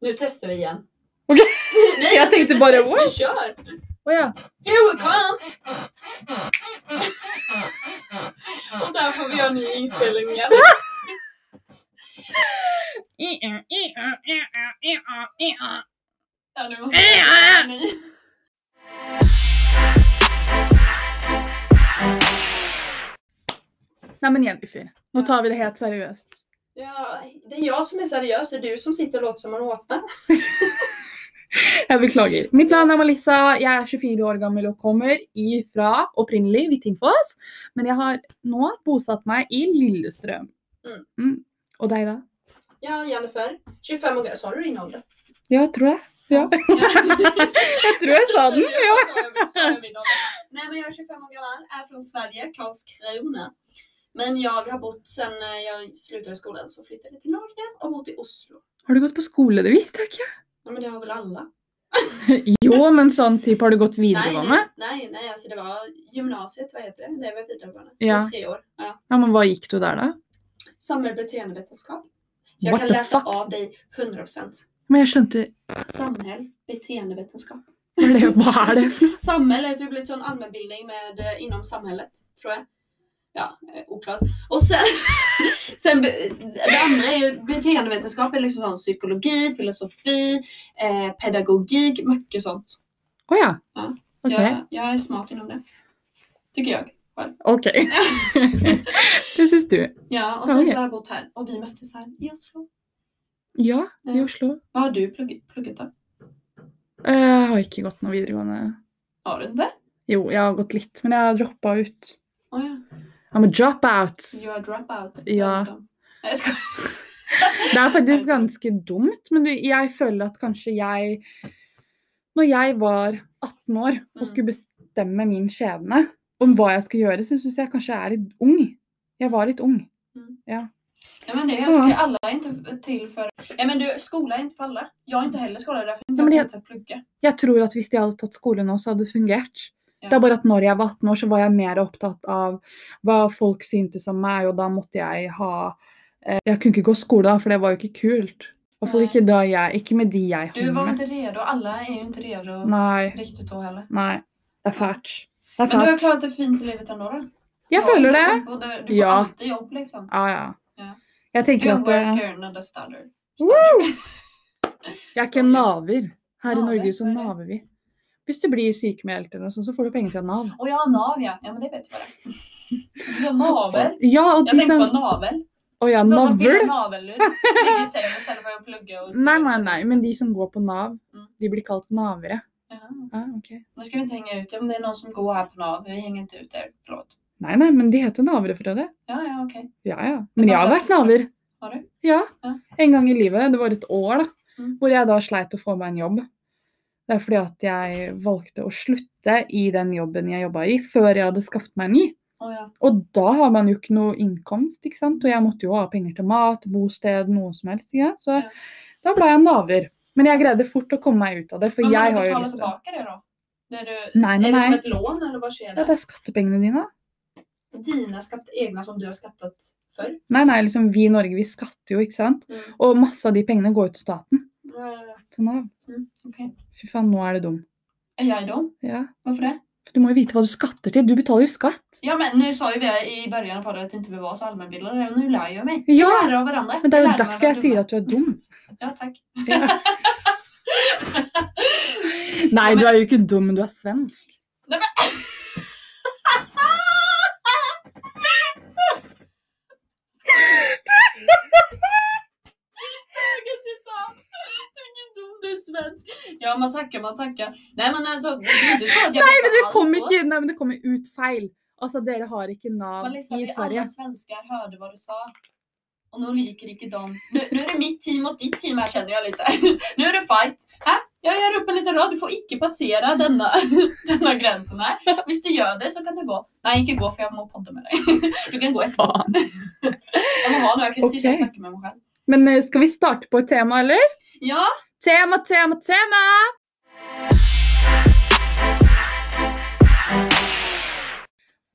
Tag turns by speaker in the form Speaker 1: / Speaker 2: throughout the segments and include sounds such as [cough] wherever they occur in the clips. Speaker 1: Nu testar vi igen.
Speaker 2: Okej.
Speaker 1: [laughs] Nej,
Speaker 2: Jag tänkte
Speaker 1: inte
Speaker 2: bara,
Speaker 1: test, vi
Speaker 2: what?
Speaker 1: kör.
Speaker 2: Oh, ja.
Speaker 1: Here we come! Och där får vi göra nya inspelningar. Ja, nu måste vi göra en ny.
Speaker 2: Nej men Jennifer, nu tar vi det helt seriöst.
Speaker 1: Ja, det är jag som är seriös, det är du som sitter och låter som en åsna.
Speaker 2: Jag beklagar. Mitt namn är Melissa, jag är 24 år gammal och kommer ifrån upprinnelig Vittingfoss. Men jag har nu bosatt mig i Lilleström.
Speaker 1: Mm.
Speaker 2: Mm. Och dig då?
Speaker 1: Ja, Jennifer, 25 år gammal. Sa du din ålder?
Speaker 2: Jag tror det. Ja. Jag tror jag [laughs] sa den. Ja.
Speaker 1: Nej men jag är 25 år gammal, är från Sverige, Karlskrona. Men jag har bott sen eh, jag slutade skolan så flyttade jag till Norge och bott i Oslo.
Speaker 2: Har du gått på skola? Det visste jag inte.
Speaker 1: Ja men det har väl alla?
Speaker 2: [laughs] Jo, men sån typ har du gått
Speaker 1: Nej, nej,
Speaker 2: vidaregående?
Speaker 1: nej, nej, alltså det var gymnasiet, vad heter det? Det var vidaregående.
Speaker 2: Ja.
Speaker 1: Så Tre år. Ja.
Speaker 2: Ja, men vad gick du där då?
Speaker 1: Samhällsbeteendevetenskap. Så jag
Speaker 2: What
Speaker 1: kan
Speaker 2: the
Speaker 1: läsa
Speaker 2: fuck?
Speaker 1: av dig 100%.
Speaker 2: Men jag skönte,
Speaker 1: Samhäll, beteendevetenskap.
Speaker 2: vad är det, vad är det för
Speaker 1: Samhälle, det blir en sån allmänbildning med, eh, inom samhället, tror jag. Ja, eh, oklart. Och sen, [laughs] sen be- det andra är ju beteendevetenskap, är liksom sån psykologi, filosofi, eh, pedagogik, mycket sånt.
Speaker 2: Oh, ja.
Speaker 1: Ja. Så
Speaker 2: Okej.
Speaker 1: Jag, jag är smart inom det. Tycker jag.
Speaker 2: [laughs] Okej. det syns du.
Speaker 1: Ja, och sen
Speaker 2: Okej.
Speaker 1: så har jag bott här och vi möttes här i Oslo.
Speaker 2: Ja, i
Speaker 1: Ja.
Speaker 2: Oslo.
Speaker 1: Vad har du plugg- pluggat då?
Speaker 2: Eh, Jag har inte gått någon vidaregående.
Speaker 1: Har du inte?
Speaker 2: Jo, jag har gått lite, men jag har droppat ut.
Speaker 1: Oh, ja.
Speaker 2: I'm a dropout.
Speaker 1: You are dropout.
Speaker 2: Ja.
Speaker 1: Nej, jag skojar.
Speaker 2: Det är
Speaker 1: Alltså.
Speaker 2: faktiskt ganska dumt, men det- jag känner att kanske jag, när jag var 18 år
Speaker 1: Mm.
Speaker 2: och skulle bestämma min skebne om vad jag ska göra, så syns jag kanske jag är lite ung. Jag var lite ung.
Speaker 1: Ja, men det är
Speaker 2: Så.
Speaker 1: helt okej. Alla är inte till för... Ja, men du, skola är inte för alla. Jag är inte heller skolad därför jag inte
Speaker 2: Ja, men
Speaker 1: har
Speaker 2: det-
Speaker 1: fortsatt plugga.
Speaker 2: Jag tror att om jag hade tagit skolan nu så hade det fungerat.
Speaker 1: Ja.
Speaker 2: Det är bara att när jag var 18 år så var jag mer upptatt av vad folk syntes om mig och då måste jag ha... Eh, jag kunde inte gå i skolan för det var ju inte kul. Varför
Speaker 1: Nej.
Speaker 2: inte då jag, inte med de jag
Speaker 1: Du
Speaker 2: hung
Speaker 1: var
Speaker 2: med.
Speaker 1: inte redo. Alla är ju inte redo
Speaker 2: Nej,
Speaker 1: riktigt då heller.
Speaker 2: nej. Det är färt. Det är
Speaker 1: Men du
Speaker 2: färt.
Speaker 1: har klarat det fint i livet ändå då?
Speaker 2: Jag
Speaker 1: Du har
Speaker 2: följer
Speaker 1: inte
Speaker 2: det.
Speaker 1: jobb och Du, du får
Speaker 2: Ja.
Speaker 1: alltid jobb liksom.
Speaker 2: Ja, ja.
Speaker 1: Ja.
Speaker 2: Jag tänker
Speaker 1: You
Speaker 2: att eh,
Speaker 1: worker, not a stutter.
Speaker 2: Woo! jag kan naver. Här i
Speaker 1: Naver,
Speaker 2: Norge så
Speaker 1: vad är det?
Speaker 2: naver vi. Om du blir sykmeldt eller något sånt så får du pengar från NAV.
Speaker 1: Och jag har nav ja. Ja men det vet jag vad
Speaker 2: [laughs]
Speaker 1: det är. Jag navel.
Speaker 2: Ja, och
Speaker 1: Jag
Speaker 2: de
Speaker 1: tänkte
Speaker 2: som...
Speaker 1: på navel.
Speaker 2: Och ja,
Speaker 1: Sån som
Speaker 2: navel.
Speaker 1: filmar navelur. Ligger i sängen istället för att plugga och
Speaker 2: Nej, nej, nej. Men de som går på NAV,
Speaker 1: Mm.
Speaker 2: de blir kallt navere. Ah,
Speaker 1: Jaha.
Speaker 2: Ja, okej.
Speaker 1: Nu ska vi inte hänga ut er om det är någon som går här på nav. Vi hänger inte ut er. Förlåt.
Speaker 2: Nej, nej, men de heter navere för det.
Speaker 1: Ja, ja okej.
Speaker 2: Ja, ja. Men jag har
Speaker 1: var
Speaker 2: varit
Speaker 1: det som-
Speaker 2: naver.
Speaker 1: Har du?
Speaker 2: Ja.
Speaker 1: Ja.
Speaker 2: En gång i livet. Det var ett år, da.
Speaker 1: Mm.
Speaker 2: Hvor jeg da sleit å få meg en jobb. Det er fordi at jeg valgte å slutte i den jobben jeg jobba i, før jeg hadde skaffet meg en ny.
Speaker 1: Oh, ja.
Speaker 2: Og da har man jo ikke noe inkomst, ikke sant. Og jeg måtte jo ha penger til mat, bosted, noe som helst. Ikke? sant? Så
Speaker 1: Ja.
Speaker 2: da ble jeg naver. Men jeg greide fort å komme meg ut av det, for
Speaker 1: Men har
Speaker 2: jeg
Speaker 1: du
Speaker 2: har jo
Speaker 1: betalat
Speaker 2: lyst til
Speaker 1: tillbaka det då? När du,
Speaker 2: Nei, nei,
Speaker 1: är det som
Speaker 2: nei.
Speaker 1: ett lån eller vad sker
Speaker 2: Ja,
Speaker 1: det?
Speaker 2: det er skattepengene dine.
Speaker 1: Dina skatt, egna som du har skattat för?
Speaker 2: Nei, nei, liksom vi i Norge, vi skatter jo, ikke sant.
Speaker 1: Mm.
Speaker 2: Og masse av de pengene går jo til staten.
Speaker 1: Uh,
Speaker 2: Til Nav.
Speaker 1: Okej.
Speaker 2: Fy faen, nå er det dum.
Speaker 1: Är jag dum?
Speaker 2: Ja.
Speaker 1: Varför det?
Speaker 2: For du må jo vite hva du skatter til. Du betaler jo skatt.
Speaker 1: Ja men nu sa ju vi i början av podden att inte vi var så allmänbildade men nu lär jag mig.
Speaker 2: Ja,
Speaker 1: Vi lär av varandra.
Speaker 2: men det är
Speaker 1: Vi
Speaker 2: ju
Speaker 1: lär
Speaker 2: därför jag
Speaker 1: varandra.
Speaker 2: säger att du är dum.
Speaker 1: Ja tack.
Speaker 2: Ja. Nej, du är ju inte dum, men du är svensk.
Speaker 1: Nej, Höga citat. Tänk inte om du är svensk. Ja man tackar, man tackar. Nej men alltså det är ju inte så att jag Nej
Speaker 2: Men det kommer inte, nej, men det kommer ut fel. Alltså, dere har inte NAV
Speaker 1: Melissa,
Speaker 2: i
Speaker 1: vi alla
Speaker 2: Sverige.
Speaker 1: svenskar hörde vad du sa. Och nu liker inte de. Nu, nu är det mitt team mot ditt team här känner jag lite. [laughs] Nu är det fight. Här, jag gör upp en liten rad. Du får icke passera denna, [laughs] denna gränsen här. Visst du gör det så kan du gå. Nej, inte gå för jag må podda med dig. [laughs] Du kan gå efter.
Speaker 2: Fan.
Speaker 1: [laughs] Jag må ha några. Jag kan inte sitta och
Speaker 2: Okej.
Speaker 1: snacka med mig själv.
Speaker 2: Men eh, ska vi starta på ett tema, eller?
Speaker 1: Ja,
Speaker 2: Tema, tema, tema!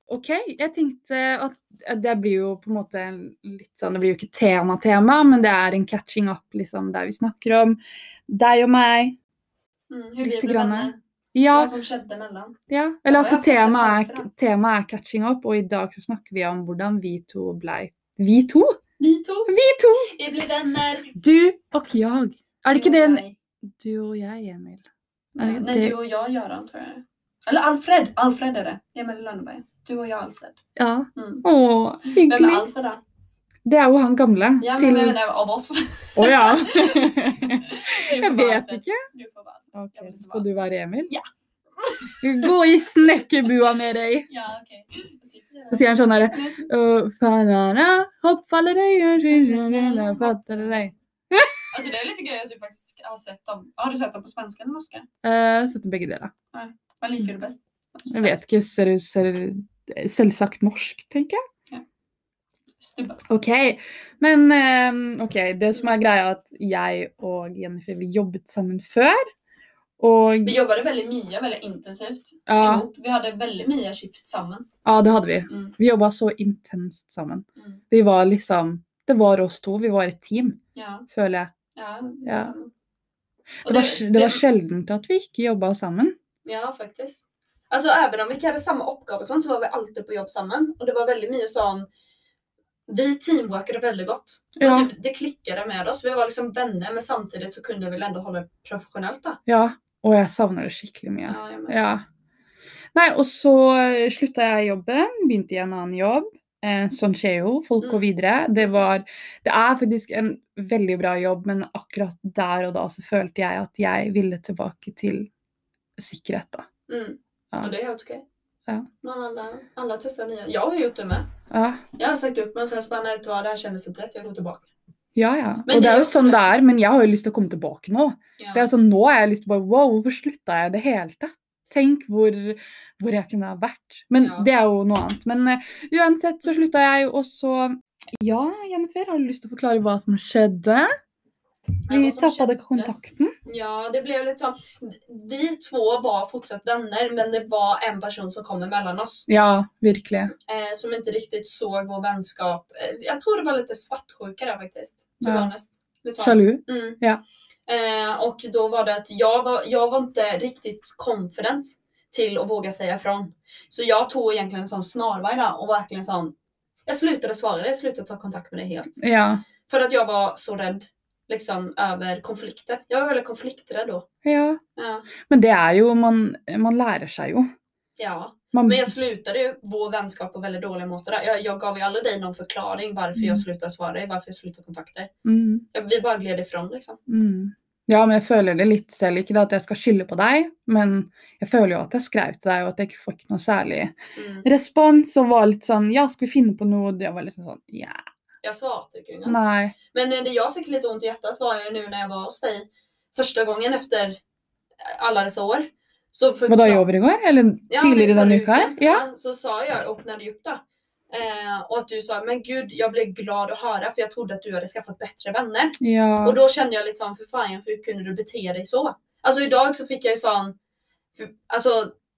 Speaker 2: OK, jeg tenkte at at det blir jo på en måte en litt sånn Det blir jo ikke tema-tema, men det er en catching up, liksom, der vi snakker om deg og meg.
Speaker 1: Mm, hur vi
Speaker 2: Lite
Speaker 1: blev
Speaker 2: grann.
Speaker 1: vänner.
Speaker 2: Ja,
Speaker 1: Vad som skedde mellan.
Speaker 2: ja. Eller
Speaker 1: Ja,
Speaker 2: at
Speaker 1: jeg har
Speaker 2: temaet
Speaker 1: fått en
Speaker 2: er,
Speaker 1: pause,
Speaker 2: tema er catching up, og i dag så snakker vi om hvordan vi to blei Vi to?
Speaker 1: Vi to.
Speaker 2: Vi to!
Speaker 1: Vi blev vänner.
Speaker 2: Du og jeg. Er det ikke
Speaker 1: Du
Speaker 2: det
Speaker 1: och
Speaker 2: en
Speaker 1: jag.
Speaker 2: Du og jeg, Emil. Er
Speaker 1: Nej,
Speaker 2: det,
Speaker 1: nej,
Speaker 2: det,
Speaker 1: du och jag Göran tror jag det är. Eller Alfred. Alfred är det. Emil Lönneberg. Du och jag Alfred.
Speaker 2: ja.
Speaker 1: Mm.
Speaker 2: Å,
Speaker 1: Vem är
Speaker 2: hyggelig.
Speaker 1: Alfred då?
Speaker 2: Det er jo han gamle.
Speaker 1: Ja, men
Speaker 2: til
Speaker 1: jag menar av
Speaker 2: [laughs]
Speaker 1: oss.
Speaker 2: Å ja.
Speaker 1: [laughs] Du
Speaker 2: [laughs] Jeg
Speaker 1: får vara
Speaker 2: vet
Speaker 1: Alfred.
Speaker 2: ikke.
Speaker 1: Du får vara.
Speaker 2: Ok,
Speaker 1: Jeg vil
Speaker 2: så skal du være Emil?
Speaker 1: Ja.
Speaker 2: [laughs] Gå i snekkerbua med deg.
Speaker 1: Ja, okej. Jag sitter här.
Speaker 2: Så sier han sånn herre
Speaker 1: Men jag sitter-
Speaker 2: Farara, hoppfaller deg, jeg skylder deg, fatter deg.
Speaker 1: Alltså det är lite grej att du faktiskt har sett dem. Har du sett dem på svenska eller norska?
Speaker 2: Eh, Så til begge deler.
Speaker 1: Vad liker du bäst?
Speaker 2: Jeg Mm. vet ikke, ser ut ser Selvsagt norsk, tenker jeg.
Speaker 1: Stubbat.
Speaker 2: OK. Men eh, OK, det som er greia, er at jeg og Jennifer vi jobbet sammen før. Og
Speaker 1: Vi jobbade väldigt mycket, väldigt intensivt
Speaker 2: ja,
Speaker 1: ihop. Vi hade väldigt mycket skift sammen.
Speaker 2: ja, det hadde vi.
Speaker 1: Mm.
Speaker 2: Vi jobba så intenst sammen.
Speaker 1: Mm.
Speaker 2: Vi var liksom Det var oss to. Vi var et team,
Speaker 1: Ja,
Speaker 2: føler jeg.
Speaker 1: ja.
Speaker 2: Ja.
Speaker 1: samma. Och
Speaker 2: Det var, det var sjeldent at vi ikke jobba sammen.
Speaker 1: Ja, faktiskt. Alltså även om vi inte hade samma uppgave och sånt så var vi alltid på jobb samman. Och det var väldigt mycket sån... Vi teamworkade väldigt gott. Och
Speaker 2: Ja.
Speaker 1: Typ, det klickade med oss. Vi var liksom vänner men samtidigt så kunde vi väl ändå hålla det professionellt då.
Speaker 2: Ja. Og jeg savner det skikkelig mye.
Speaker 1: Ja, jag med.
Speaker 2: Ja. Nei, og så eh, slutta jeg i jobben, begynte i en annen jobb. Eh, sånn skjer jo, folk går videre. Det var Det er faktisk en veldig bra jobb, men akkurat der og da så følte jeg at jeg ville tilbake til sikkerhet, da.
Speaker 1: Mm.
Speaker 2: Ja.
Speaker 1: Och det är helt okej.
Speaker 2: Ja.
Speaker 1: Men alla, alla testar nya. Jag har gjort det med.
Speaker 2: Ja.
Speaker 1: Jag har sagt upp mig och sen så bara nej vet du vad, det här kändes inte rätt, jag går tillbaka.
Speaker 2: Ja, ja.
Speaker 1: Men
Speaker 2: Og det
Speaker 1: det er
Speaker 2: er jo
Speaker 1: jo
Speaker 2: sånn
Speaker 1: bra.
Speaker 2: det er, men jeg har jo lyst til å komme tilbake nå.
Speaker 1: Ja.
Speaker 2: Det er sånn, Nå har jeg lyst til å bare Wow, hvorfor slutta jeg i det hele tatt? Tenk hvor, hvor jeg kunne ha vært. Men
Speaker 1: Ja.
Speaker 2: det er jo noe annet. Men eh, uansett så slutta jeg, og så Ja, Jennifer, har du lyst til å forklare hva som skjedde?
Speaker 1: Ja,
Speaker 2: Vi
Speaker 1: hva som
Speaker 2: tappa det
Speaker 1: skjedde?
Speaker 2: kontakten.
Speaker 1: Ja, det blev lite så. Vi två var fortsatt vänner men det var en person som kom emellan oss.
Speaker 2: Ja, virkelig.
Speaker 1: Eh, som inte riktigt såg vår vänskap. Eh, jag tror det var lite svartsjuka där faktiskt. To
Speaker 2: Ja.
Speaker 1: be honest. Lite så.
Speaker 2: Sjalu.
Speaker 1: Mm.
Speaker 2: Ja.
Speaker 1: Eh, och då var det att jag var, jag var inte riktigt confident till att våga säga ifrån. Så jag tog egentligen en sån snarvej där och verkligen sån. Jag slutade svara dig, jag slutade ta kontakt med dig helt.
Speaker 2: Ja.
Speaker 1: För att jag var så rädd liksom över konflikter. Jag var väldigt konflikträdd då.
Speaker 2: ja.
Speaker 1: Ja.
Speaker 2: Men det er jo Man, man lærer seg jo.
Speaker 1: ja.
Speaker 2: Man,
Speaker 1: Men jag slutade ju vår vänskap på väldigt dåliga mått. där. Jag, jag gav ju aldrig dig någon förklaring varför
Speaker 2: Mm.
Speaker 1: jag slutade svara dig, varför jag slutade kontakta dig.
Speaker 2: mm.
Speaker 1: Ja, Vi bara gled ifrån liksom.
Speaker 2: Mm. Ja, men jeg føler det litt selv. Ikke det at jeg skal skylde på deg, men jeg føler jo at jeg skrev til deg, og at jeg ikke fikk noe særlig
Speaker 1: Mm.
Speaker 2: respons. Og var litt sånn Ja, skal vi finne på noe? Og jeg var liksom sånn Ja,
Speaker 1: Jag svarte ju inga.
Speaker 2: nei.
Speaker 1: Men eh, det jag fick lite ont i hjärtat var ju nu när jeg var hos dig första gången efter alla dessa år. Så för-
Speaker 2: Var det i over i går? Eller
Speaker 1: Ja, men
Speaker 2: tidligere
Speaker 1: förra
Speaker 2: denne uka? her?
Speaker 1: uken,
Speaker 2: Ja.
Speaker 1: Så sa jag, och öppnade upp då. Eh, och att du sa, men gud jag blev glad att höra för jag trodde att du hade skaffat bättre vänner. Och
Speaker 2: ja.
Speaker 1: då kände jag lite sån, för fan hur kunde du bete dig så? Alltså idag så fick jag ju sån, för, alltså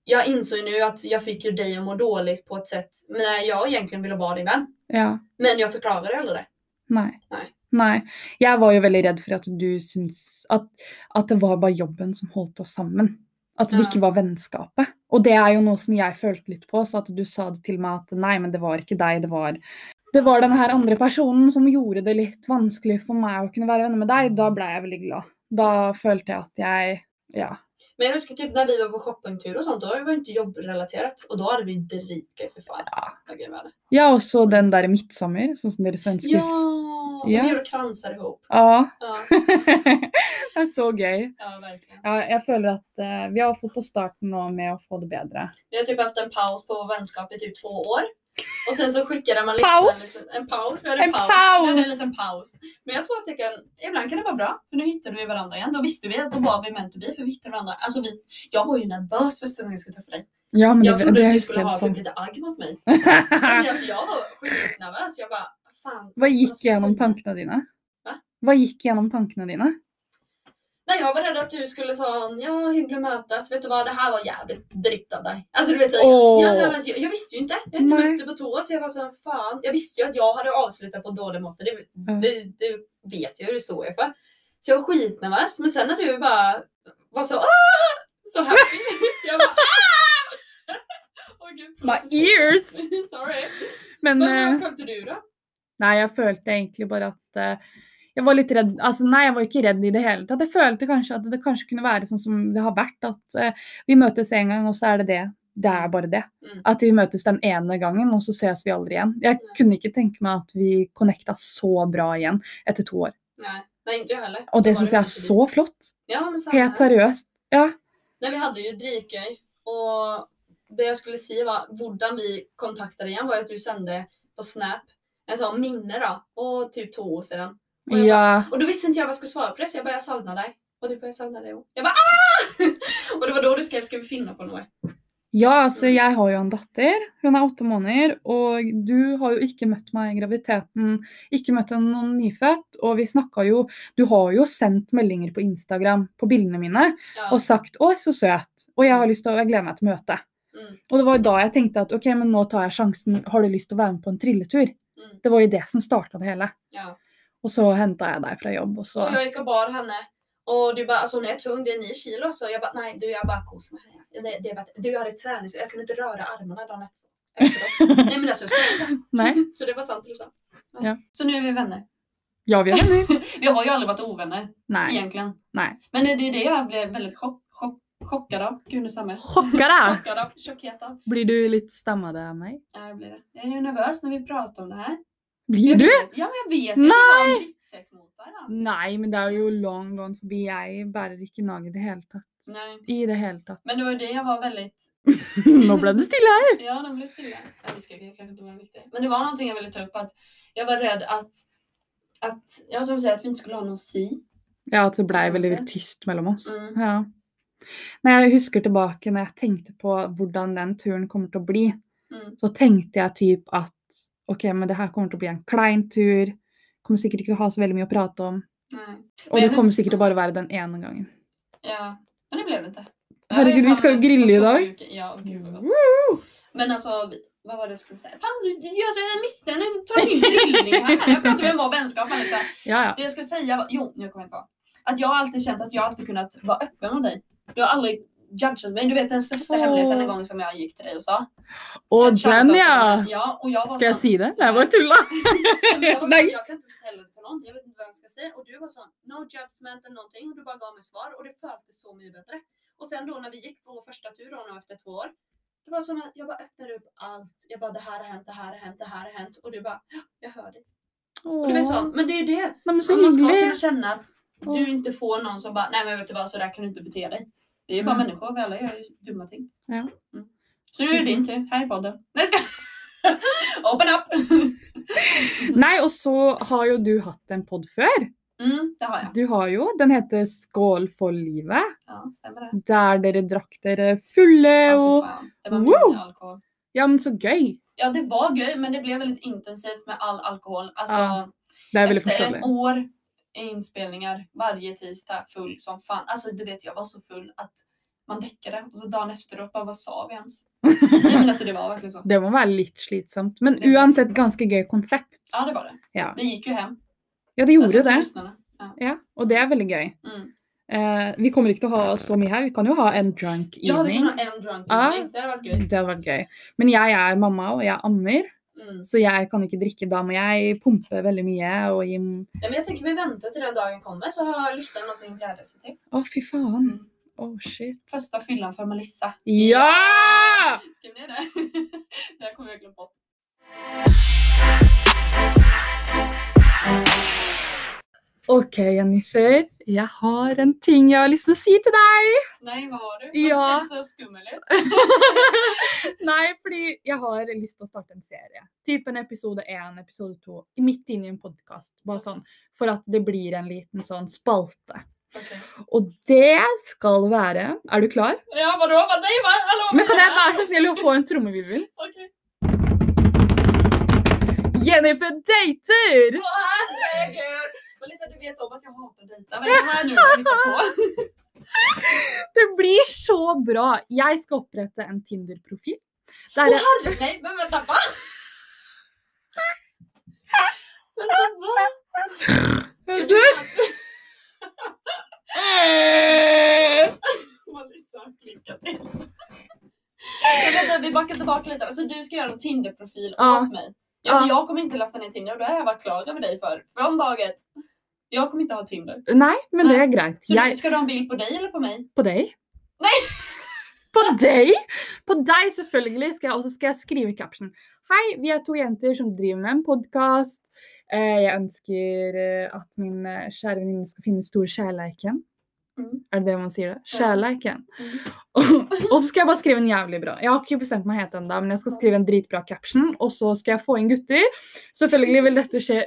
Speaker 1: jag insåg nu att jag fick ju dig att må dåligt på ett sätt när jag egentligen ville vara din vän.
Speaker 2: ja.
Speaker 1: Men jag förklarade aldrig det.
Speaker 2: Nei.
Speaker 1: Nei.
Speaker 2: Nei. Jeg var jo veldig redd for at du syns at, at det var bare jobben som holdt oss sammen. At det
Speaker 1: Ja.
Speaker 2: ikke var vennskapet. Og det er jo noe som jeg følte litt på, så at du sa det til meg at nei, men det var ikke deg, det var det var den her andre personen som gjorde det litt vanskelig for meg å kunne være venner med deg. Da ble jeg veldig glad. Da følte jeg at jeg Ja.
Speaker 1: Men jag huskar typ när vi var på shoppingtur och sånt, då var det inte jobbrelaterat. Och då hade vi dritgrej för fan.
Speaker 2: Ja.
Speaker 1: Vad gøy var det?
Speaker 2: Ja, også den derre midtsommer, sånn som dere svensker
Speaker 1: Ja! Och
Speaker 2: Ja.
Speaker 1: vi gjorde kransar ihop.
Speaker 2: ja. [laughs]
Speaker 1: Ja,
Speaker 2: det er så gøy.
Speaker 1: ja verkligen.
Speaker 2: Ja, jeg føler at eh, vi har fått på starten nå med å få det bedre.
Speaker 1: Vi har typ haft en paus på vänskap i typ två år. Och sen så skickade man liksom
Speaker 2: Paus?
Speaker 1: En, liten, en paus. Vi hade en
Speaker 2: En
Speaker 1: paus. Vi hade en
Speaker 2: paus.
Speaker 1: liten paus. Men jag tror att det kan, ibland kan det vara bra. För nu hittade vi varandra igen. Då visste vi att då var vi meant to be. För vi hittade varandra. Alltså vi, jeg var ju nervös första gången jag skulle träffa dig.
Speaker 2: Ja, men
Speaker 1: Jag
Speaker 2: det,
Speaker 1: trodde
Speaker 2: det
Speaker 1: att du
Speaker 2: husker
Speaker 1: skulle
Speaker 2: jeg
Speaker 1: ha typ
Speaker 2: sånn.
Speaker 1: lite agg mot mig.
Speaker 2: [laughs]
Speaker 1: Men alltså jag var skitnervøs. Jag bara, fan.
Speaker 2: Hva gikk
Speaker 1: skal jeg
Speaker 2: gjennom
Speaker 1: si?
Speaker 2: tankene dine?
Speaker 1: Hæ?
Speaker 2: Hva gikk gjennom tankene dine?
Speaker 1: Nej När jag var rädd att du skulle säga ja hyggligt mötas, vet du vad det här var jävligt dritt av dig. Alltså du vet, så,
Speaker 2: Åh.
Speaker 1: jag, jag, alltså, jag, jag visste ju inte, jag hade inte
Speaker 2: Nej.
Speaker 1: mött dig på toa så jag var så fan. Jag visste ju att jag hade avslutat på dålig måte, det,
Speaker 2: Mm.
Speaker 1: det, det vet jag ju, det står jag för. Så jag var skitnervös, men sen när du bara var så "Ah!" så happy, [laughs] jag bara "Ah!" [laughs] Åh gud, förlåt,
Speaker 2: My
Speaker 1: jag spottar. [laughs]
Speaker 2: ears.
Speaker 1: Sorry.
Speaker 2: Men
Speaker 1: Men hur
Speaker 2: eh,
Speaker 1: följde du då?
Speaker 2: nej, jag følte egentlig bare at eh, Jeg var litt redd Altså, nei, jeg var ikke redd i det hele tatt. Jeg følte kanskje at det kanskje kunne være sånn som det har vært, at eh, vi møtes en gang, og så er det det. Det er bare det.
Speaker 1: Mm.
Speaker 2: At vi møtes den ene gangen, og så ses vi aldri igjen. Jeg
Speaker 1: Nei.
Speaker 2: kunne ikke tenke meg at vi connecta så bra igjen etter to år.
Speaker 1: Nej, nej inte jag heller.
Speaker 2: Og
Speaker 1: Då
Speaker 2: det
Speaker 1: var
Speaker 2: syns jeg er
Speaker 1: precis-
Speaker 2: så flott.
Speaker 1: Ja, men så här.
Speaker 2: Helt seriøst. Ja.
Speaker 1: Nej, vi hade ju Drikøy och det jag skulle säga var, hurdan vi kontaktade igen var ju att du sände på Snap en sån minne då, och typ två år sedan. Och jag
Speaker 2: ja.
Speaker 1: Och då visste inte jag vad jag skulle svara på det så jag bara, jag savnar dig. Och du bara, jag savnar dig också. Jag bara, ah! [laughs] Och det var då du skrev, ska vi finna på något?
Speaker 2: Ja, altså jeg har jo en datter. Hun er åtte måneder. Og du har jo ikke møtt meg i graviditeten, ikke møtt noen nyfødt. Og vi snakka jo Du har jo sendt meldinger på Instagram på bildene mine
Speaker 1: Ja.
Speaker 2: og sagt 'Å, så søt'. Og jeg har lyst til å, jeg gleder meg til møtet.
Speaker 1: Mm.
Speaker 2: Og det var jo da jeg tenkte at ok, men nå tar jeg sjansen. Har du lyst til å være med på en trilletur?
Speaker 1: Mm.
Speaker 2: Det var jo det som starta det hele.
Speaker 1: ja.
Speaker 2: Og så henta jeg deg fra jobb, og så
Speaker 1: Och jag gick och bar henne. Och du bara, alltså hon är tung, det är nio kilo. Så jag bara, nej du, jag bara kos mig här. Det, det är bara, du hade träning så jag kunde inte röra armarna dagen efter- efteråt. nej men alltså jag skulle inte.
Speaker 2: Nei.
Speaker 1: [laughs] Så det var sant det du sa.
Speaker 2: Ja.
Speaker 1: Så nu är vi vänner.
Speaker 2: Ja, vi er venner.
Speaker 1: Vi har ju aldrig varit ovänner
Speaker 2: Nei.
Speaker 1: egentligen.
Speaker 2: Nej.
Speaker 1: Men det är det jag blev väldigt chock, chock, chockad av. Gud nu stämmer jag.
Speaker 2: Sjokka deg!
Speaker 1: Chockad av, chockad av.
Speaker 2: Blir du litt stammade av meg?
Speaker 1: Ja, jag blir det. Jag är ju nervös när vi pratar om det här.
Speaker 2: Blir du?
Speaker 1: Vet, ja men jag vet ju att jag har en drittsäck mot varandra.
Speaker 2: Nei, men det er jo long gone forbi. Jeg bærer ikke nag i det hele tatt.
Speaker 1: Nej.
Speaker 2: I det hele
Speaker 1: [laughs]
Speaker 2: tatt.
Speaker 1: Men det var ju det jag var väldigt,
Speaker 2: Nå ble det stille her!
Speaker 1: ja den blev stilla. Ja, det ska jag kanske inte vara viktigt. Men det var någonting jag ville ta upp att jag var rädd att, att, ja som du säger att vi inte skulle ha någon si.
Speaker 2: Ja, at det blei
Speaker 1: Sånn
Speaker 2: veldig
Speaker 1: sett.
Speaker 2: tyst mellom oss.
Speaker 1: Mm.
Speaker 2: Ja. Når jeg husker tilbake når jeg tenkte på hvordan den turen kommer til å bli,
Speaker 1: Mm.
Speaker 2: så tenkte jeg typ at ok, men det her kommer til å bli en klein tur. Kommer sikkert ikke til å ha så veldig mye å prate om.
Speaker 1: Nej.
Speaker 2: Og
Speaker 1: jeg
Speaker 2: det kommer
Speaker 1: husker-
Speaker 2: sikkert til å bare være den ene gangen.
Speaker 1: Ja, men det blev det inte.
Speaker 2: Herregud, vi ska ju grilla idag.
Speaker 1: Ja, gud vad gott.
Speaker 2: Woo!
Speaker 1: Men alltså, vi- vad var det jag skulle säga? Fan, du, du, jag jag missade den. Du tar min grillning här. Jag pratar ju om att ha vänskap. Melissa.
Speaker 2: Ja, ja.
Speaker 1: Det jag skulle säga var, jo, nu kommer jag på. Att jag har alltid känt att jag alltid kunnat vara öppen mot dig. Du har aldrig judgat mig. Du vet den största
Speaker 2: Åh.
Speaker 1: hemligheten en gång som jag gick till dig och sa.
Speaker 2: Åh,
Speaker 1: Så jag
Speaker 2: den,
Speaker 1: shoutout
Speaker 2: ja.
Speaker 1: till dig. Ja, och jag var
Speaker 2: Skal jeg
Speaker 1: sån-
Speaker 2: si det? Nei, jeg bare tulla.
Speaker 1: Ja, men jag, var sån,
Speaker 2: Nej.
Speaker 1: jag kan inte förtälla det till någon. Jag vet inte vad jag ska säga. Och du var sån, no judgment eller någonting. Och du bara gav mig svar. Och det följde så mycket bättre. Och sen då när vi gick på vår första tur då, nu efter två år. Det var som att jag bara öppnade upp allt. Jag bara, det här har hänt, det här har hänt, det här har hänt. Och du bara, ja, jag hör dig. Och du vet sån, men det är ju det.
Speaker 2: Nei, men så
Speaker 1: Man ska kunna
Speaker 2: hyggelig.
Speaker 1: känna att du
Speaker 2: Ja.
Speaker 1: inte får någon som bara, nej men vet du vad, så där kan du inte bete dig. Vi är ju bara
Speaker 2: Mm.
Speaker 1: människor, vi alla gör ju dumma ting.
Speaker 2: Ja.
Speaker 1: Mm. Så nu är det din tur, här i podden. Nej ska [laughs] Open up! [laughs]
Speaker 2: Nei, og så har jo du hatt en pod før.
Speaker 1: Mm, det har jag.
Speaker 2: Du har jo, den heter Skål for livet,
Speaker 1: Ja, stämmer det.
Speaker 2: der dere drakk dere fulle
Speaker 1: Ja, fy
Speaker 2: og
Speaker 1: fan. Det var
Speaker 2: Woo!
Speaker 1: mycket alkohol.
Speaker 2: Ja, men så gøy!
Speaker 1: Ja det var gøy men det blev väldigt intensivt med all alkohol. Alltså,
Speaker 2: Ja, Det er veldig
Speaker 1: efter ett
Speaker 2: forståelig.
Speaker 1: år inspelningar varje tisdag full som fan. Alltså du vet jag var så full att man däckade och så dagen efteråt bara vad sa vi
Speaker 2: [laughs]
Speaker 1: ens? Nej men alltså det var verkligen så.
Speaker 2: Det må være litt slitsomt, men
Speaker 1: Det må
Speaker 2: uansett
Speaker 1: være.
Speaker 2: ganske gøy konsept.
Speaker 1: Ja, det var det.
Speaker 2: Ja.
Speaker 1: Det gick ju hem.
Speaker 2: Ja, det
Speaker 1: Alltså
Speaker 2: gjorde
Speaker 1: till
Speaker 2: det.
Speaker 1: lyssnarna. Ja.
Speaker 2: Ja, og det er veldig gøy.
Speaker 1: Mm.
Speaker 2: Eh, vi kommer ikke til å ha så mye her, vi kan jo ha en drunk
Speaker 1: ja, vi kan
Speaker 2: evening.
Speaker 1: ha en drunk
Speaker 2: Ja.
Speaker 1: evening. Det hade varit gøy.
Speaker 2: Det hadde vært gøy. Men jeg er mamma, og jeg ammer,
Speaker 1: Mm.
Speaker 2: så jeg kan ikke drikke. Da må jeg pumpe veldig mye og gi Å,
Speaker 1: Nej, men jag tänker vi väntar till den dagen kommer så har lyssnarna någonting att glädja sig till.
Speaker 2: fy faen. Å, shit.
Speaker 1: Första fyllan för Melissa.
Speaker 2: Ja!
Speaker 1: Skriv ner det. [laughs] det här kommer jag glömma bort.
Speaker 2: OK, Jennifer. Jeg har en ting jag har lyst til å si til deg.
Speaker 1: Nej, vad var du?
Speaker 2: Ja.
Speaker 1: Varför ser du så skummel ut?
Speaker 2: Nei, fordi jeg har lyst til å starte en serie. Typ en episode én, episode to. Midt inne i en podkast. Bare sånn for at det blir en liten sånn spalte.
Speaker 1: Okej.
Speaker 2: Og det skal være Er du klar?
Speaker 1: Ja, vadå? Vad nej, vad? Hallå?
Speaker 2: Men kan jeg være så snill å få en trommevirvel?
Speaker 1: Okej.
Speaker 2: Jennifer dater!
Speaker 1: Åh, herregud! Men Melissa, du vet om att jag hatar att dejta. Vad är det här nu du hittar
Speaker 2: [laughs]
Speaker 1: på?
Speaker 2: Det blir så bra! Jeg skal opprette en Tinder-profil. Der jeg,
Speaker 1: Nej, men vänta, va? vänta, va? Ska du... Melissa, lycka till. Men Vänta, vi backar tillbaka lite. Alltså, du ska göra en Tinder-profil
Speaker 2: Ja.
Speaker 1: åt mig. Ja, för
Speaker 2: Ja.
Speaker 1: jag kommer inte ladda ner Tinder och det har jag varit klar över dig för. Från dag ett. Jag kommer inte ha Tinder.
Speaker 2: Nei, men det er greit.
Speaker 1: Så
Speaker 2: Jeg
Speaker 1: du, ska du ha en bild på dig eller på mig?
Speaker 2: På deg?
Speaker 1: Nei!
Speaker 2: På deg? På deg, selvfølgelig. Skal jeg, og så skal jeg skrive i caption. Hei, vi er to jenter som driver med en podkast. Eh, jeg ønsker eh, at min eh, kjære venninne skal finne store kjærleiken.
Speaker 1: Mm.
Speaker 2: Er det det man sier? det? Kjærleiken.
Speaker 1: Mm.
Speaker 2: [laughs] og så skal jeg bare skrive en jævlig bra. Jeg har ikke bestemt meg helt ennå, men jeg skal skrive en dritbra caption. Og så skal jeg få inn gutter. Selvfølgelig vil dette skje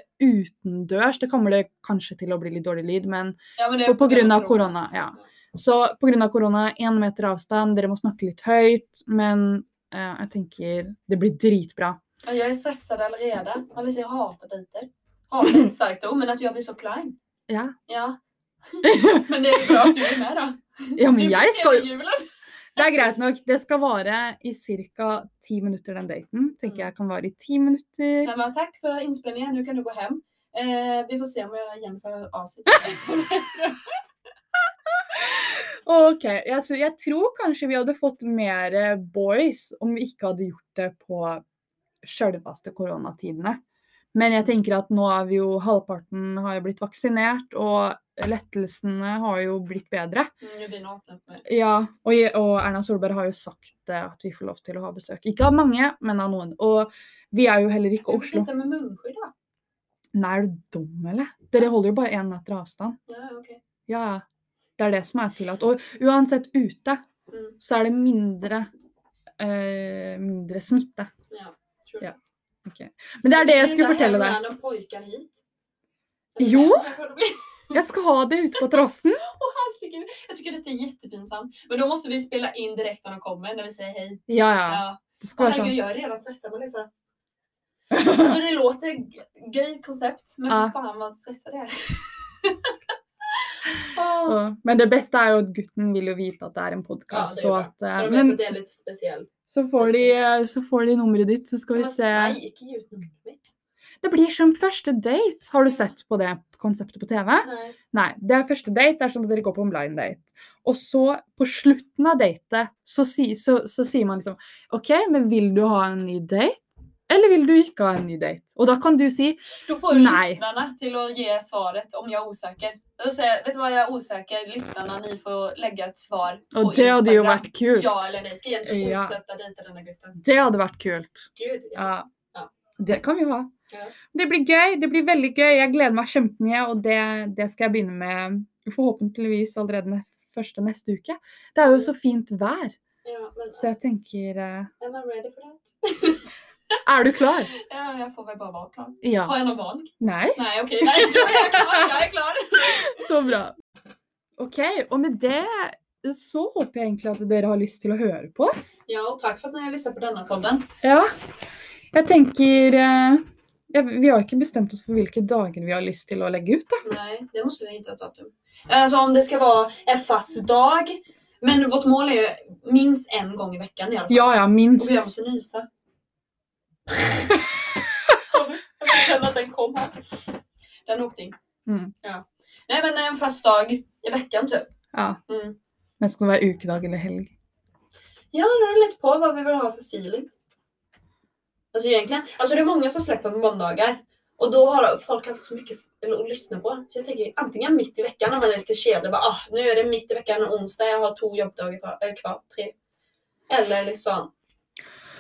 Speaker 2: utendørs. Det kommer det kanskje til å bli litt dårlig lyd, men
Speaker 1: Ja, men det är
Speaker 2: For på grunn av
Speaker 1: corona.
Speaker 2: korona, ja. Så pga. korona, én meter avstand, dere må snakke litt høyt. Men eh, jeg tenker det blir dritbra.
Speaker 1: Ja, Jag är stressad allerede. Melissa, jag hatar dejter. Hatar är ett starkt ord, men alltså jeg blir så klein.
Speaker 2: Ja. [laughs]
Speaker 1: Ja,
Speaker 2: ja,
Speaker 1: men det är bra att du är med då.
Speaker 2: men
Speaker 1: du
Speaker 2: jeg skal
Speaker 1: julen.
Speaker 2: Det er greit nok. Det skal vare i ca. ti minutter, den daten. Tenker jeg kan vare i ti minutter.
Speaker 1: Sen bara, tack för inspelningen, nu kan du gå hem. Eh, vi får se om jag igen får av sig.
Speaker 2: [laughs] OK. Jeg, tror- jeg tror kanskje vi hadde fått mer eh, boys om vi ikke hadde gjort det på sjølveste koronatidene. Men jeg tenker at nå er vi jo halvparten har jo blitt vaksinert, og lettelsene har jo blitt bedre.
Speaker 1: Mm, Nu blir nakna upp mig.
Speaker 2: Ja, og, je- og Erna Solberg har jo sagt eh, at vi får lov til å ha besøk. Ikke av mange, men av noen. Och vi er jo heller
Speaker 1: Du
Speaker 2: ikke
Speaker 1: får
Speaker 2: Oslo.
Speaker 1: sitta med munskydd då.
Speaker 2: Nei, er du dum, eller? Dere holder jo bare én meter avstand.
Speaker 1: Ja, okej.
Speaker 2: Ja, ja. Det er det som er tillatt. Og uansett ute,
Speaker 1: Mm,
Speaker 2: så er det mindre eh, mindre smitte.
Speaker 1: ja, tror
Speaker 2: Ja,
Speaker 1: jag.
Speaker 2: Ok. Men det er det jeg skulle
Speaker 1: Bjuda
Speaker 2: fortelle
Speaker 1: hem
Speaker 2: deg.
Speaker 1: med någon pojkar hit.
Speaker 2: Jo.
Speaker 1: Eller kanske det blir.
Speaker 2: Jeg skal ha det ute på terrassen.
Speaker 1: Åh, herregud. [laughs] Jag tycker detta är jättepinsamt. Men då måste vi spela in direkt när de kommer, när vi säger hej.
Speaker 2: Ja, ja.
Speaker 1: Ja.
Speaker 2: Det skal
Speaker 1: Åh,
Speaker 2: være
Speaker 1: herregud,
Speaker 2: sånn.
Speaker 1: jag är redan stressad Melissa. Alltså det låter g- gay koncept, men
Speaker 2: Ja.
Speaker 1: fan vad stressad
Speaker 2: [laughs]
Speaker 1: jag är. Åh.
Speaker 2: Og- Men det beste er jo at gutten vil jo vite at det er en podkast.
Speaker 1: Ja, det er
Speaker 2: og
Speaker 1: jo
Speaker 2: at
Speaker 1: bra.
Speaker 2: eh,
Speaker 1: Så de vet
Speaker 2: Men
Speaker 1: att det är lite speciellt.
Speaker 2: så får, de, eh, så får de nummeret ditt, så skal vi se.
Speaker 1: Nej, inte ge ut numret mitt.
Speaker 2: Det blir som første date. Har du sett på det konseptet på TV?
Speaker 1: Nej.
Speaker 2: Nei. Det er første date, det er som at dere går på en blind date. Og så, på slutten av datet, så, si, så, så sier man liksom OK, men vil du ha en ny date? Eller vil du ikke ha en ny date? Og da kan du si
Speaker 1: Då får ju
Speaker 2: Nej.
Speaker 1: lyssnarna till att ge svaret om jag är osäker. Då säger jag, vet du vad jag är osäker? Lyssnarna, ni får lägga ett svar
Speaker 2: Og
Speaker 1: på
Speaker 2: det hadde jo
Speaker 1: Instagram.
Speaker 2: vært kult.
Speaker 1: Ja eller nej, ska egentligen
Speaker 2: Ja.
Speaker 1: fortsätta dejta denna gutten.
Speaker 2: Det hadde vært kult.
Speaker 1: Gud, ja.
Speaker 2: Ja.
Speaker 1: Ja.
Speaker 2: Det kan vi jo ha.
Speaker 1: Ja.
Speaker 2: Det blir gøy. Det blir veldig gøy. Jeg gleder meg kjempemye, og det, det skal jeg begynne med forhåpentligvis allerede ne- første neste uke. Det er jo så fint vær,
Speaker 1: ja men
Speaker 2: så jeg tenker eh,
Speaker 1: am I ready for that?
Speaker 2: Er du klar?
Speaker 1: Ja, jag får väl bara vara klar.
Speaker 2: Ja.
Speaker 1: Har jag någon val?
Speaker 2: Nei?
Speaker 1: Nej okej, nej jag tror jag är klar. Jag är klar.
Speaker 2: Så bra. OK, og med det så håper jeg egentlig at dere har lyst til å høre på oss.
Speaker 1: Ja och tack för att ni har lyssnat på denna podden.
Speaker 2: Ja. Jeg tenker eh, ja, Vi har ikke bestemt oss for hvilke dager vi har lyst till å legge ut, da.
Speaker 1: Nej, det måste vi hitta ett datum. Alltså om det ska vara en fast dag. Men vårt mål är ju minst en gång i veckan i alla fall.
Speaker 2: Ja ja,
Speaker 1: Och
Speaker 2: minst.
Speaker 1: jag måste nysa. [laughs] Sorry, jag känner att den kom här. Den åkte in.
Speaker 2: Mm.
Speaker 1: Ja. Nej men en fast dag i veckan typ.
Speaker 2: Ja.
Speaker 1: Mm.
Speaker 2: Men skal det være ukedag eller helg?
Speaker 1: Ja, det beror lite på vad vi vill ha för feeling. Alltså egentligen, alltså det är många som släpper på måndagar. Och då har folk alltid så mycket f- eller att lyssna på. Så jag tänker antingen mitt i veckan när man är lite kedlig. Bara, ah, nu är det mitt i veckan, en onsdag, jag har två jobbdagar kvar- eller kvar, tre. Eller liksom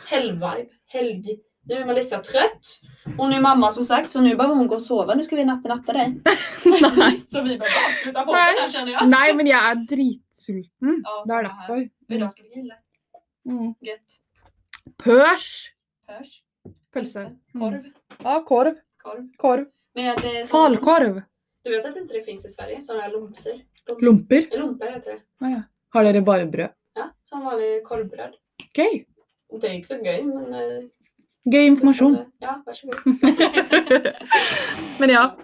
Speaker 1: helgvibe, helg. Nu är Melissa trött. Hon är mamma som sagt, så nu behöver hon gå och sova. Nu ska vi natta-natta dig.
Speaker 2: Nei.
Speaker 1: [laughs] så vi behöver avsluta på
Speaker 2: [laughs] Nej.
Speaker 1: här känner jag.
Speaker 2: Nei, men jeg er dritsulten.
Speaker 1: Ja,
Speaker 2: det
Speaker 1: samme
Speaker 2: er derfor.
Speaker 1: Idag ska vi grilla.
Speaker 2: Mm.
Speaker 1: Gött.
Speaker 2: Pørs!
Speaker 1: Hörs.
Speaker 2: Pølse.
Speaker 1: Korv.
Speaker 2: Ja, korv.
Speaker 1: Korv.
Speaker 2: Korv.
Speaker 1: Med eh, sån-
Speaker 2: Falkorv.
Speaker 1: Du vet att inte det finns i Sverige? Sådana här lomser? Loms-
Speaker 2: Lomper.
Speaker 1: Eh, Lomper heter det.
Speaker 2: Å ja. Har dere bare brød?
Speaker 1: Ja, som vanlig korvbröd.
Speaker 2: Gøy.
Speaker 1: Det är inte så gøy men... eh, det är
Speaker 2: Gøy informasjon.
Speaker 1: sådana- Ja, varsågod.
Speaker 2: men ja.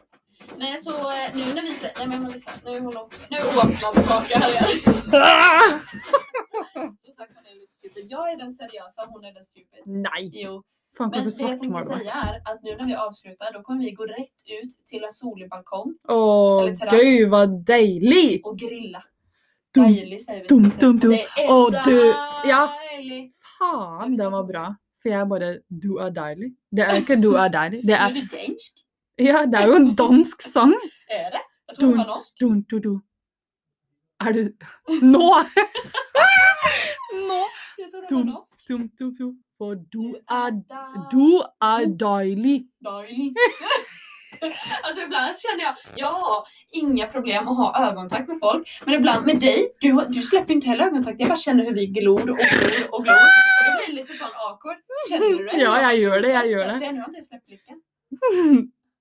Speaker 1: Nej, så eh, nu när vi släpper... Nej, men jag lyssna. Nu håller hon... Nu är åsnan tillbaka här
Speaker 2: [laughs]
Speaker 1: igen. Som sagt, hon är lite stupid. Jag är den seriösa, hon är den stupid.
Speaker 2: Nej!
Speaker 1: Jo,
Speaker 2: Fan,
Speaker 1: men
Speaker 2: kommer
Speaker 1: det
Speaker 2: du
Speaker 1: jag tänkte
Speaker 2: svartmåla mig?
Speaker 1: säga är att nu när vi avslutar, då kommer vi gå rätt ut till en solig balkong
Speaker 2: Åh,
Speaker 1: Eller terrass.
Speaker 2: gud vad dejligt!
Speaker 1: och grilla.
Speaker 2: Dum,
Speaker 1: Dejlig säger vi.
Speaker 2: dum,
Speaker 1: till exempel.
Speaker 2: dum, dum.
Speaker 1: Det är
Speaker 2: Åh, du- ja.
Speaker 1: dejlig. Jag
Speaker 2: Fan,
Speaker 1: vill
Speaker 2: den
Speaker 1: så-
Speaker 2: var bra. For jeg bare Du er deilig. Det er ikke du er deilig. Det
Speaker 1: Nu är
Speaker 2: er,
Speaker 1: det dansk.
Speaker 2: ja, det er jo en dansk sang.
Speaker 1: Är det? Jag tror det var norsk.
Speaker 2: Dun, du, du. Er du Nå! Nå!
Speaker 1: Jag tror det var
Speaker 2: Dum,
Speaker 1: norsk.
Speaker 2: dum, dum, dum. For du er Du er deilig.
Speaker 1: Dejlig. [laughs] Alltså ibland känner jag, jag har inga problem att ha ögonkontakt med folk. Men ibland med dig, du, har- du släpper inte heller ögonkontakt. Jag bara känner hur vi glor och glor och glor. Och då blir det lite sån awkward. Känner du det?
Speaker 2: Ja, jag gör det, jag gör
Speaker 1: Jag
Speaker 2: det.
Speaker 1: ser, nu har jag inte ens släppt blicken.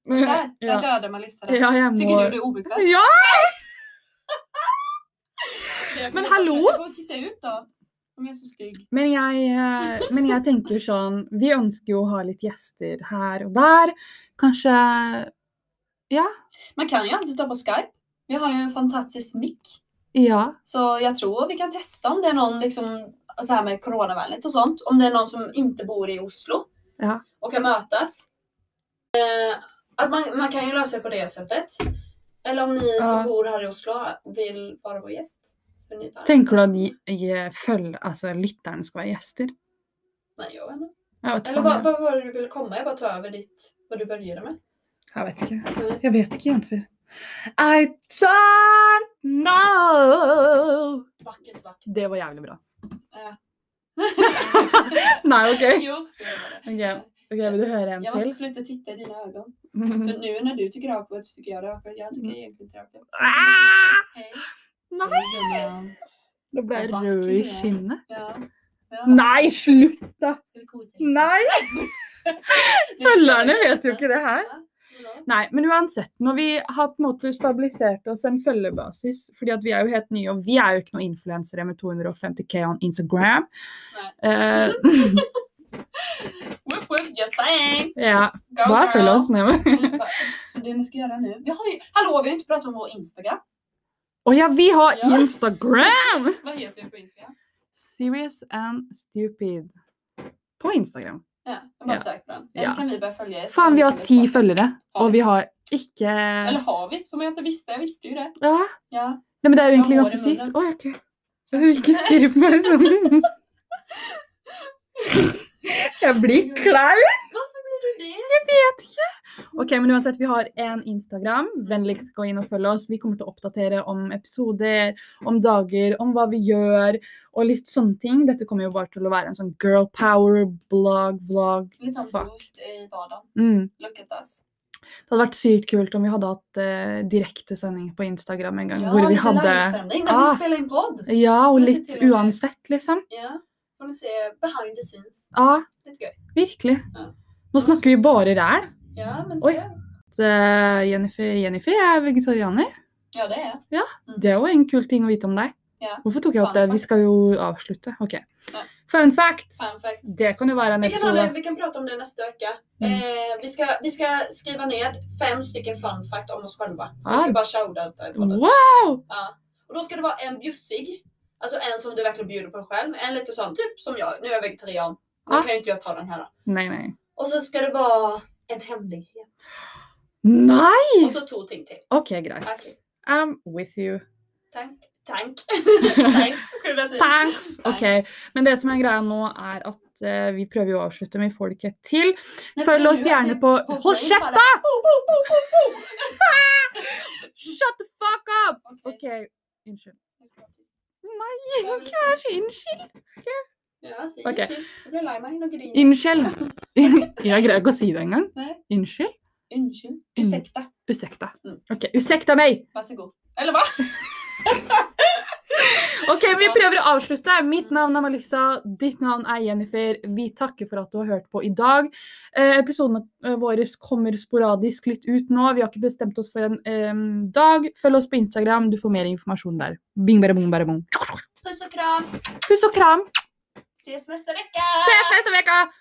Speaker 1: Där, där
Speaker 2: [laughs] Ja.
Speaker 1: dödar man listan.
Speaker 2: Ja, jeg
Speaker 1: Tycker
Speaker 2: må
Speaker 1: du det är obekvämt?
Speaker 2: Ja!
Speaker 1: Jag får-
Speaker 2: Men hallå?
Speaker 1: Jag får titta ut då. Om jag är så stygg.
Speaker 2: Men jeg, eh, men jeg tenker sånn Vi ønsker jo å ha litt gjester her og der. Kanskje
Speaker 1: Man kan ju alltid ta på Skype. Vi har ju en fantastisk mick.
Speaker 2: Ja.
Speaker 1: Så jag tror vi kan testa om det är någon liksom, så här med coronavänligt och sånt. Om det är någon som inte bor i Oslo
Speaker 2: Ja.
Speaker 1: och kan mötas. Eh, att man, man kan ju lösa det på det sättet. Eller om ni
Speaker 2: Ja.
Speaker 1: som bor här i Oslo vill vara vår gäst. Så är ni bara,
Speaker 2: Tenker du eh, at de- jeg følger, altså, lytterne skal være gjester?
Speaker 1: Nej, jag vet inte.
Speaker 2: Jeg vet,
Speaker 1: Eller
Speaker 2: faen,
Speaker 1: vad,
Speaker 2: jeg.
Speaker 1: vad var det du ville komma? Jag bara tar över ditt, vad du började med.
Speaker 2: jeg vet ikke.
Speaker 1: Mm.
Speaker 2: Jeg vet ikke, jenter. I don't know!
Speaker 1: Vackert, vackert.
Speaker 2: Det var jævlig bra. [laughs]
Speaker 1: Ja.
Speaker 2: Nei, OK.
Speaker 1: Jo, det var det.
Speaker 2: Ok, ok, Vil du høre Eh. en
Speaker 1: Jag måste
Speaker 2: [laughs] til?
Speaker 1: sluta titta i dina ögon.
Speaker 2: Mm.
Speaker 1: För nu när du tycker rövpåt så tycker jag rövpåt. Jag tycker egentligen inte rövpåt.
Speaker 2: Ah!
Speaker 1: Hej.
Speaker 2: Nei! Nå ble jeg
Speaker 1: Det var
Speaker 2: rød i
Speaker 1: ikke det.
Speaker 2: kinnet.
Speaker 1: Ja. ja.
Speaker 2: Nei, slutt, da!
Speaker 1: Ska vi kosa lite?
Speaker 2: Nei!
Speaker 1: Det är
Speaker 2: Følgerne
Speaker 1: klart,
Speaker 2: vet jo
Speaker 1: alltså.
Speaker 2: ikke det her.
Speaker 1: Ja, vadå?
Speaker 2: Nei, men uansett, når vi har på en måte stabilisert oss en følgebasis, fordi at vi er jo helt nye, og vi er jo ikke noen influensere med 250K on Instagram. Eh,
Speaker 1: Whoop, whoop, just saying.
Speaker 2: [laughs] ja,
Speaker 1: Go
Speaker 2: bare følg
Speaker 1: girl.
Speaker 2: oss nedover.
Speaker 1: Så det ni ska göra nu. Vi har ju, hallå, vi har inte pratat om vår Instagram.
Speaker 2: Å ja, vi har
Speaker 1: Ja.
Speaker 2: Instagram!
Speaker 1: Vad heter vi på Instagram?
Speaker 2: Serious and stupid. På Instagram.
Speaker 1: Ja, jag bara
Speaker 2: Ja.
Speaker 1: sök på den. Eller
Speaker 2: Ja.
Speaker 1: kan vi börja följa er? så
Speaker 2: Faen, vi har
Speaker 1: kan
Speaker 2: ti
Speaker 1: spara.
Speaker 2: følgere, og vi har ikke
Speaker 1: Eller
Speaker 2: ja.
Speaker 1: har vi? Som jag inte visste. Jag visste ju det.
Speaker 2: Nei,
Speaker 1: Ja.
Speaker 2: men det er jo egentlig
Speaker 1: Jeg har
Speaker 2: ganske
Speaker 1: hår i
Speaker 2: sykt. Å, ok. Så hun ikke stirrer på meg sånn.
Speaker 1: [laughs]
Speaker 2: Jeg blir klein.
Speaker 1: Varför blir du det?
Speaker 2: Ok, men uansett, vi har en Instagram. Vennligst gå inn og følg oss. Vi kommer til å oppdatere om episoder, om dager, om hva vi gjør, og litt sånne ting. Dette kommer jo bare til å være en sånn girl power, blog, vlog.
Speaker 1: Lite som
Speaker 2: Fuck.
Speaker 1: boost i vardagen.
Speaker 2: Mm.
Speaker 1: Look at us.
Speaker 2: Det hadde vært sykt kult om vi hadde hatt eh, direktesending på Instagram en gang,
Speaker 1: Ja,
Speaker 2: hvor vi
Speaker 1: lite
Speaker 2: hadde
Speaker 1: livesändning när
Speaker 2: Ah.
Speaker 1: vi spelar in podd.
Speaker 2: Ja, og
Speaker 1: Vi ser
Speaker 2: litt
Speaker 1: til og med-
Speaker 2: uansett, liksom.
Speaker 1: Ja. Får ni se behind the scenes.
Speaker 2: Ja,
Speaker 1: Lite gøy.
Speaker 2: virkelig.
Speaker 1: Ja.
Speaker 2: Nå snakker vi bare ræl.
Speaker 1: Ja, men
Speaker 2: Oj.
Speaker 1: så.
Speaker 2: Eh, Jennifer, Jennifer er vegetarianer.
Speaker 1: Ja, det är jag.
Speaker 2: Det er jo en kul ting å vite om deg.
Speaker 1: Ja.
Speaker 2: Hvorfor tok jeg opp
Speaker 1: Fun
Speaker 2: det? Vi
Speaker 1: fact.
Speaker 2: skal jo avslutte. Ok. Fun fact!
Speaker 1: Fun fact.
Speaker 2: Det kan jo være en
Speaker 1: Vi kan, hålla,
Speaker 2: episode.
Speaker 1: vi kan prata om det nästa vecka.
Speaker 2: Mm.
Speaker 1: Eh, vi, ska, vi ska skriva ned fem stycken fun fact om oss själva. Så vi
Speaker 2: Ah. Mm.
Speaker 1: ska bara shoutouta i podden.
Speaker 2: Wow!
Speaker 1: Ja. Och då ska det vara en bjussig. Alltså en som du verkligen bjuder på själv. En lite sån typ som jag. Nu är jag vegetarian. Nu
Speaker 2: Ah.
Speaker 1: kan ju inte jag ta den här. då.
Speaker 2: Nei, nei.
Speaker 1: Och så ska det vara en hemlighet.
Speaker 2: Nei!
Speaker 1: Och så två ting till.
Speaker 2: Ok, greit.
Speaker 1: Okej.
Speaker 2: I'm with you.
Speaker 1: Tank. Tank. [laughs] Thanks skulle jag säga.
Speaker 2: Thanks! Ok, men det som er greia nå, er at eh, vi prøver jo å avslutte, men vi får det ikke til.
Speaker 1: Nej,
Speaker 2: Följ
Speaker 1: nu
Speaker 2: oss
Speaker 1: är det
Speaker 2: gärna på-
Speaker 1: på
Speaker 2: Håll
Speaker 1: play
Speaker 2: käften!
Speaker 1: bara. Oh, oh, oh, oh, oh.
Speaker 2: [laughs] Shut the fuck up!
Speaker 1: Okej.
Speaker 2: Ok, unnskyld.
Speaker 1: Jag ska vara tyst.
Speaker 2: Nei,
Speaker 1: Ja, men
Speaker 2: hva er så unnskyld?
Speaker 1: Ja, säg
Speaker 2: Okej.
Speaker 1: undskyld. Jag blir lima in och griner.
Speaker 2: Unnskyld. [laughs] Jeg greier ikke å si det engang.
Speaker 1: Nej.
Speaker 2: Unnskyld.
Speaker 1: Unnskyld.
Speaker 2: Mm.
Speaker 1: Ursäkta.
Speaker 2: Usekta.
Speaker 1: Mm.
Speaker 2: Ok, usekta meg!
Speaker 1: Varsågod. Eller va?
Speaker 2: Ok, vi prøver å avslutte. Mitt navn er Melissa, ditt navn er Jennifer. Vi takker for at du har hørt på i dag. Eh, episodene eh, våre kommer sporadisk litt ut nå. Vi har ikke bestemt oss for en em, dag. Følg oss på Instagram, du får mer informasjon der. Bing, bare, bong, bare, bong.
Speaker 1: Puss och kram.
Speaker 2: Puss og kram!
Speaker 1: Ses nästa vecka!
Speaker 2: Ses neste uke!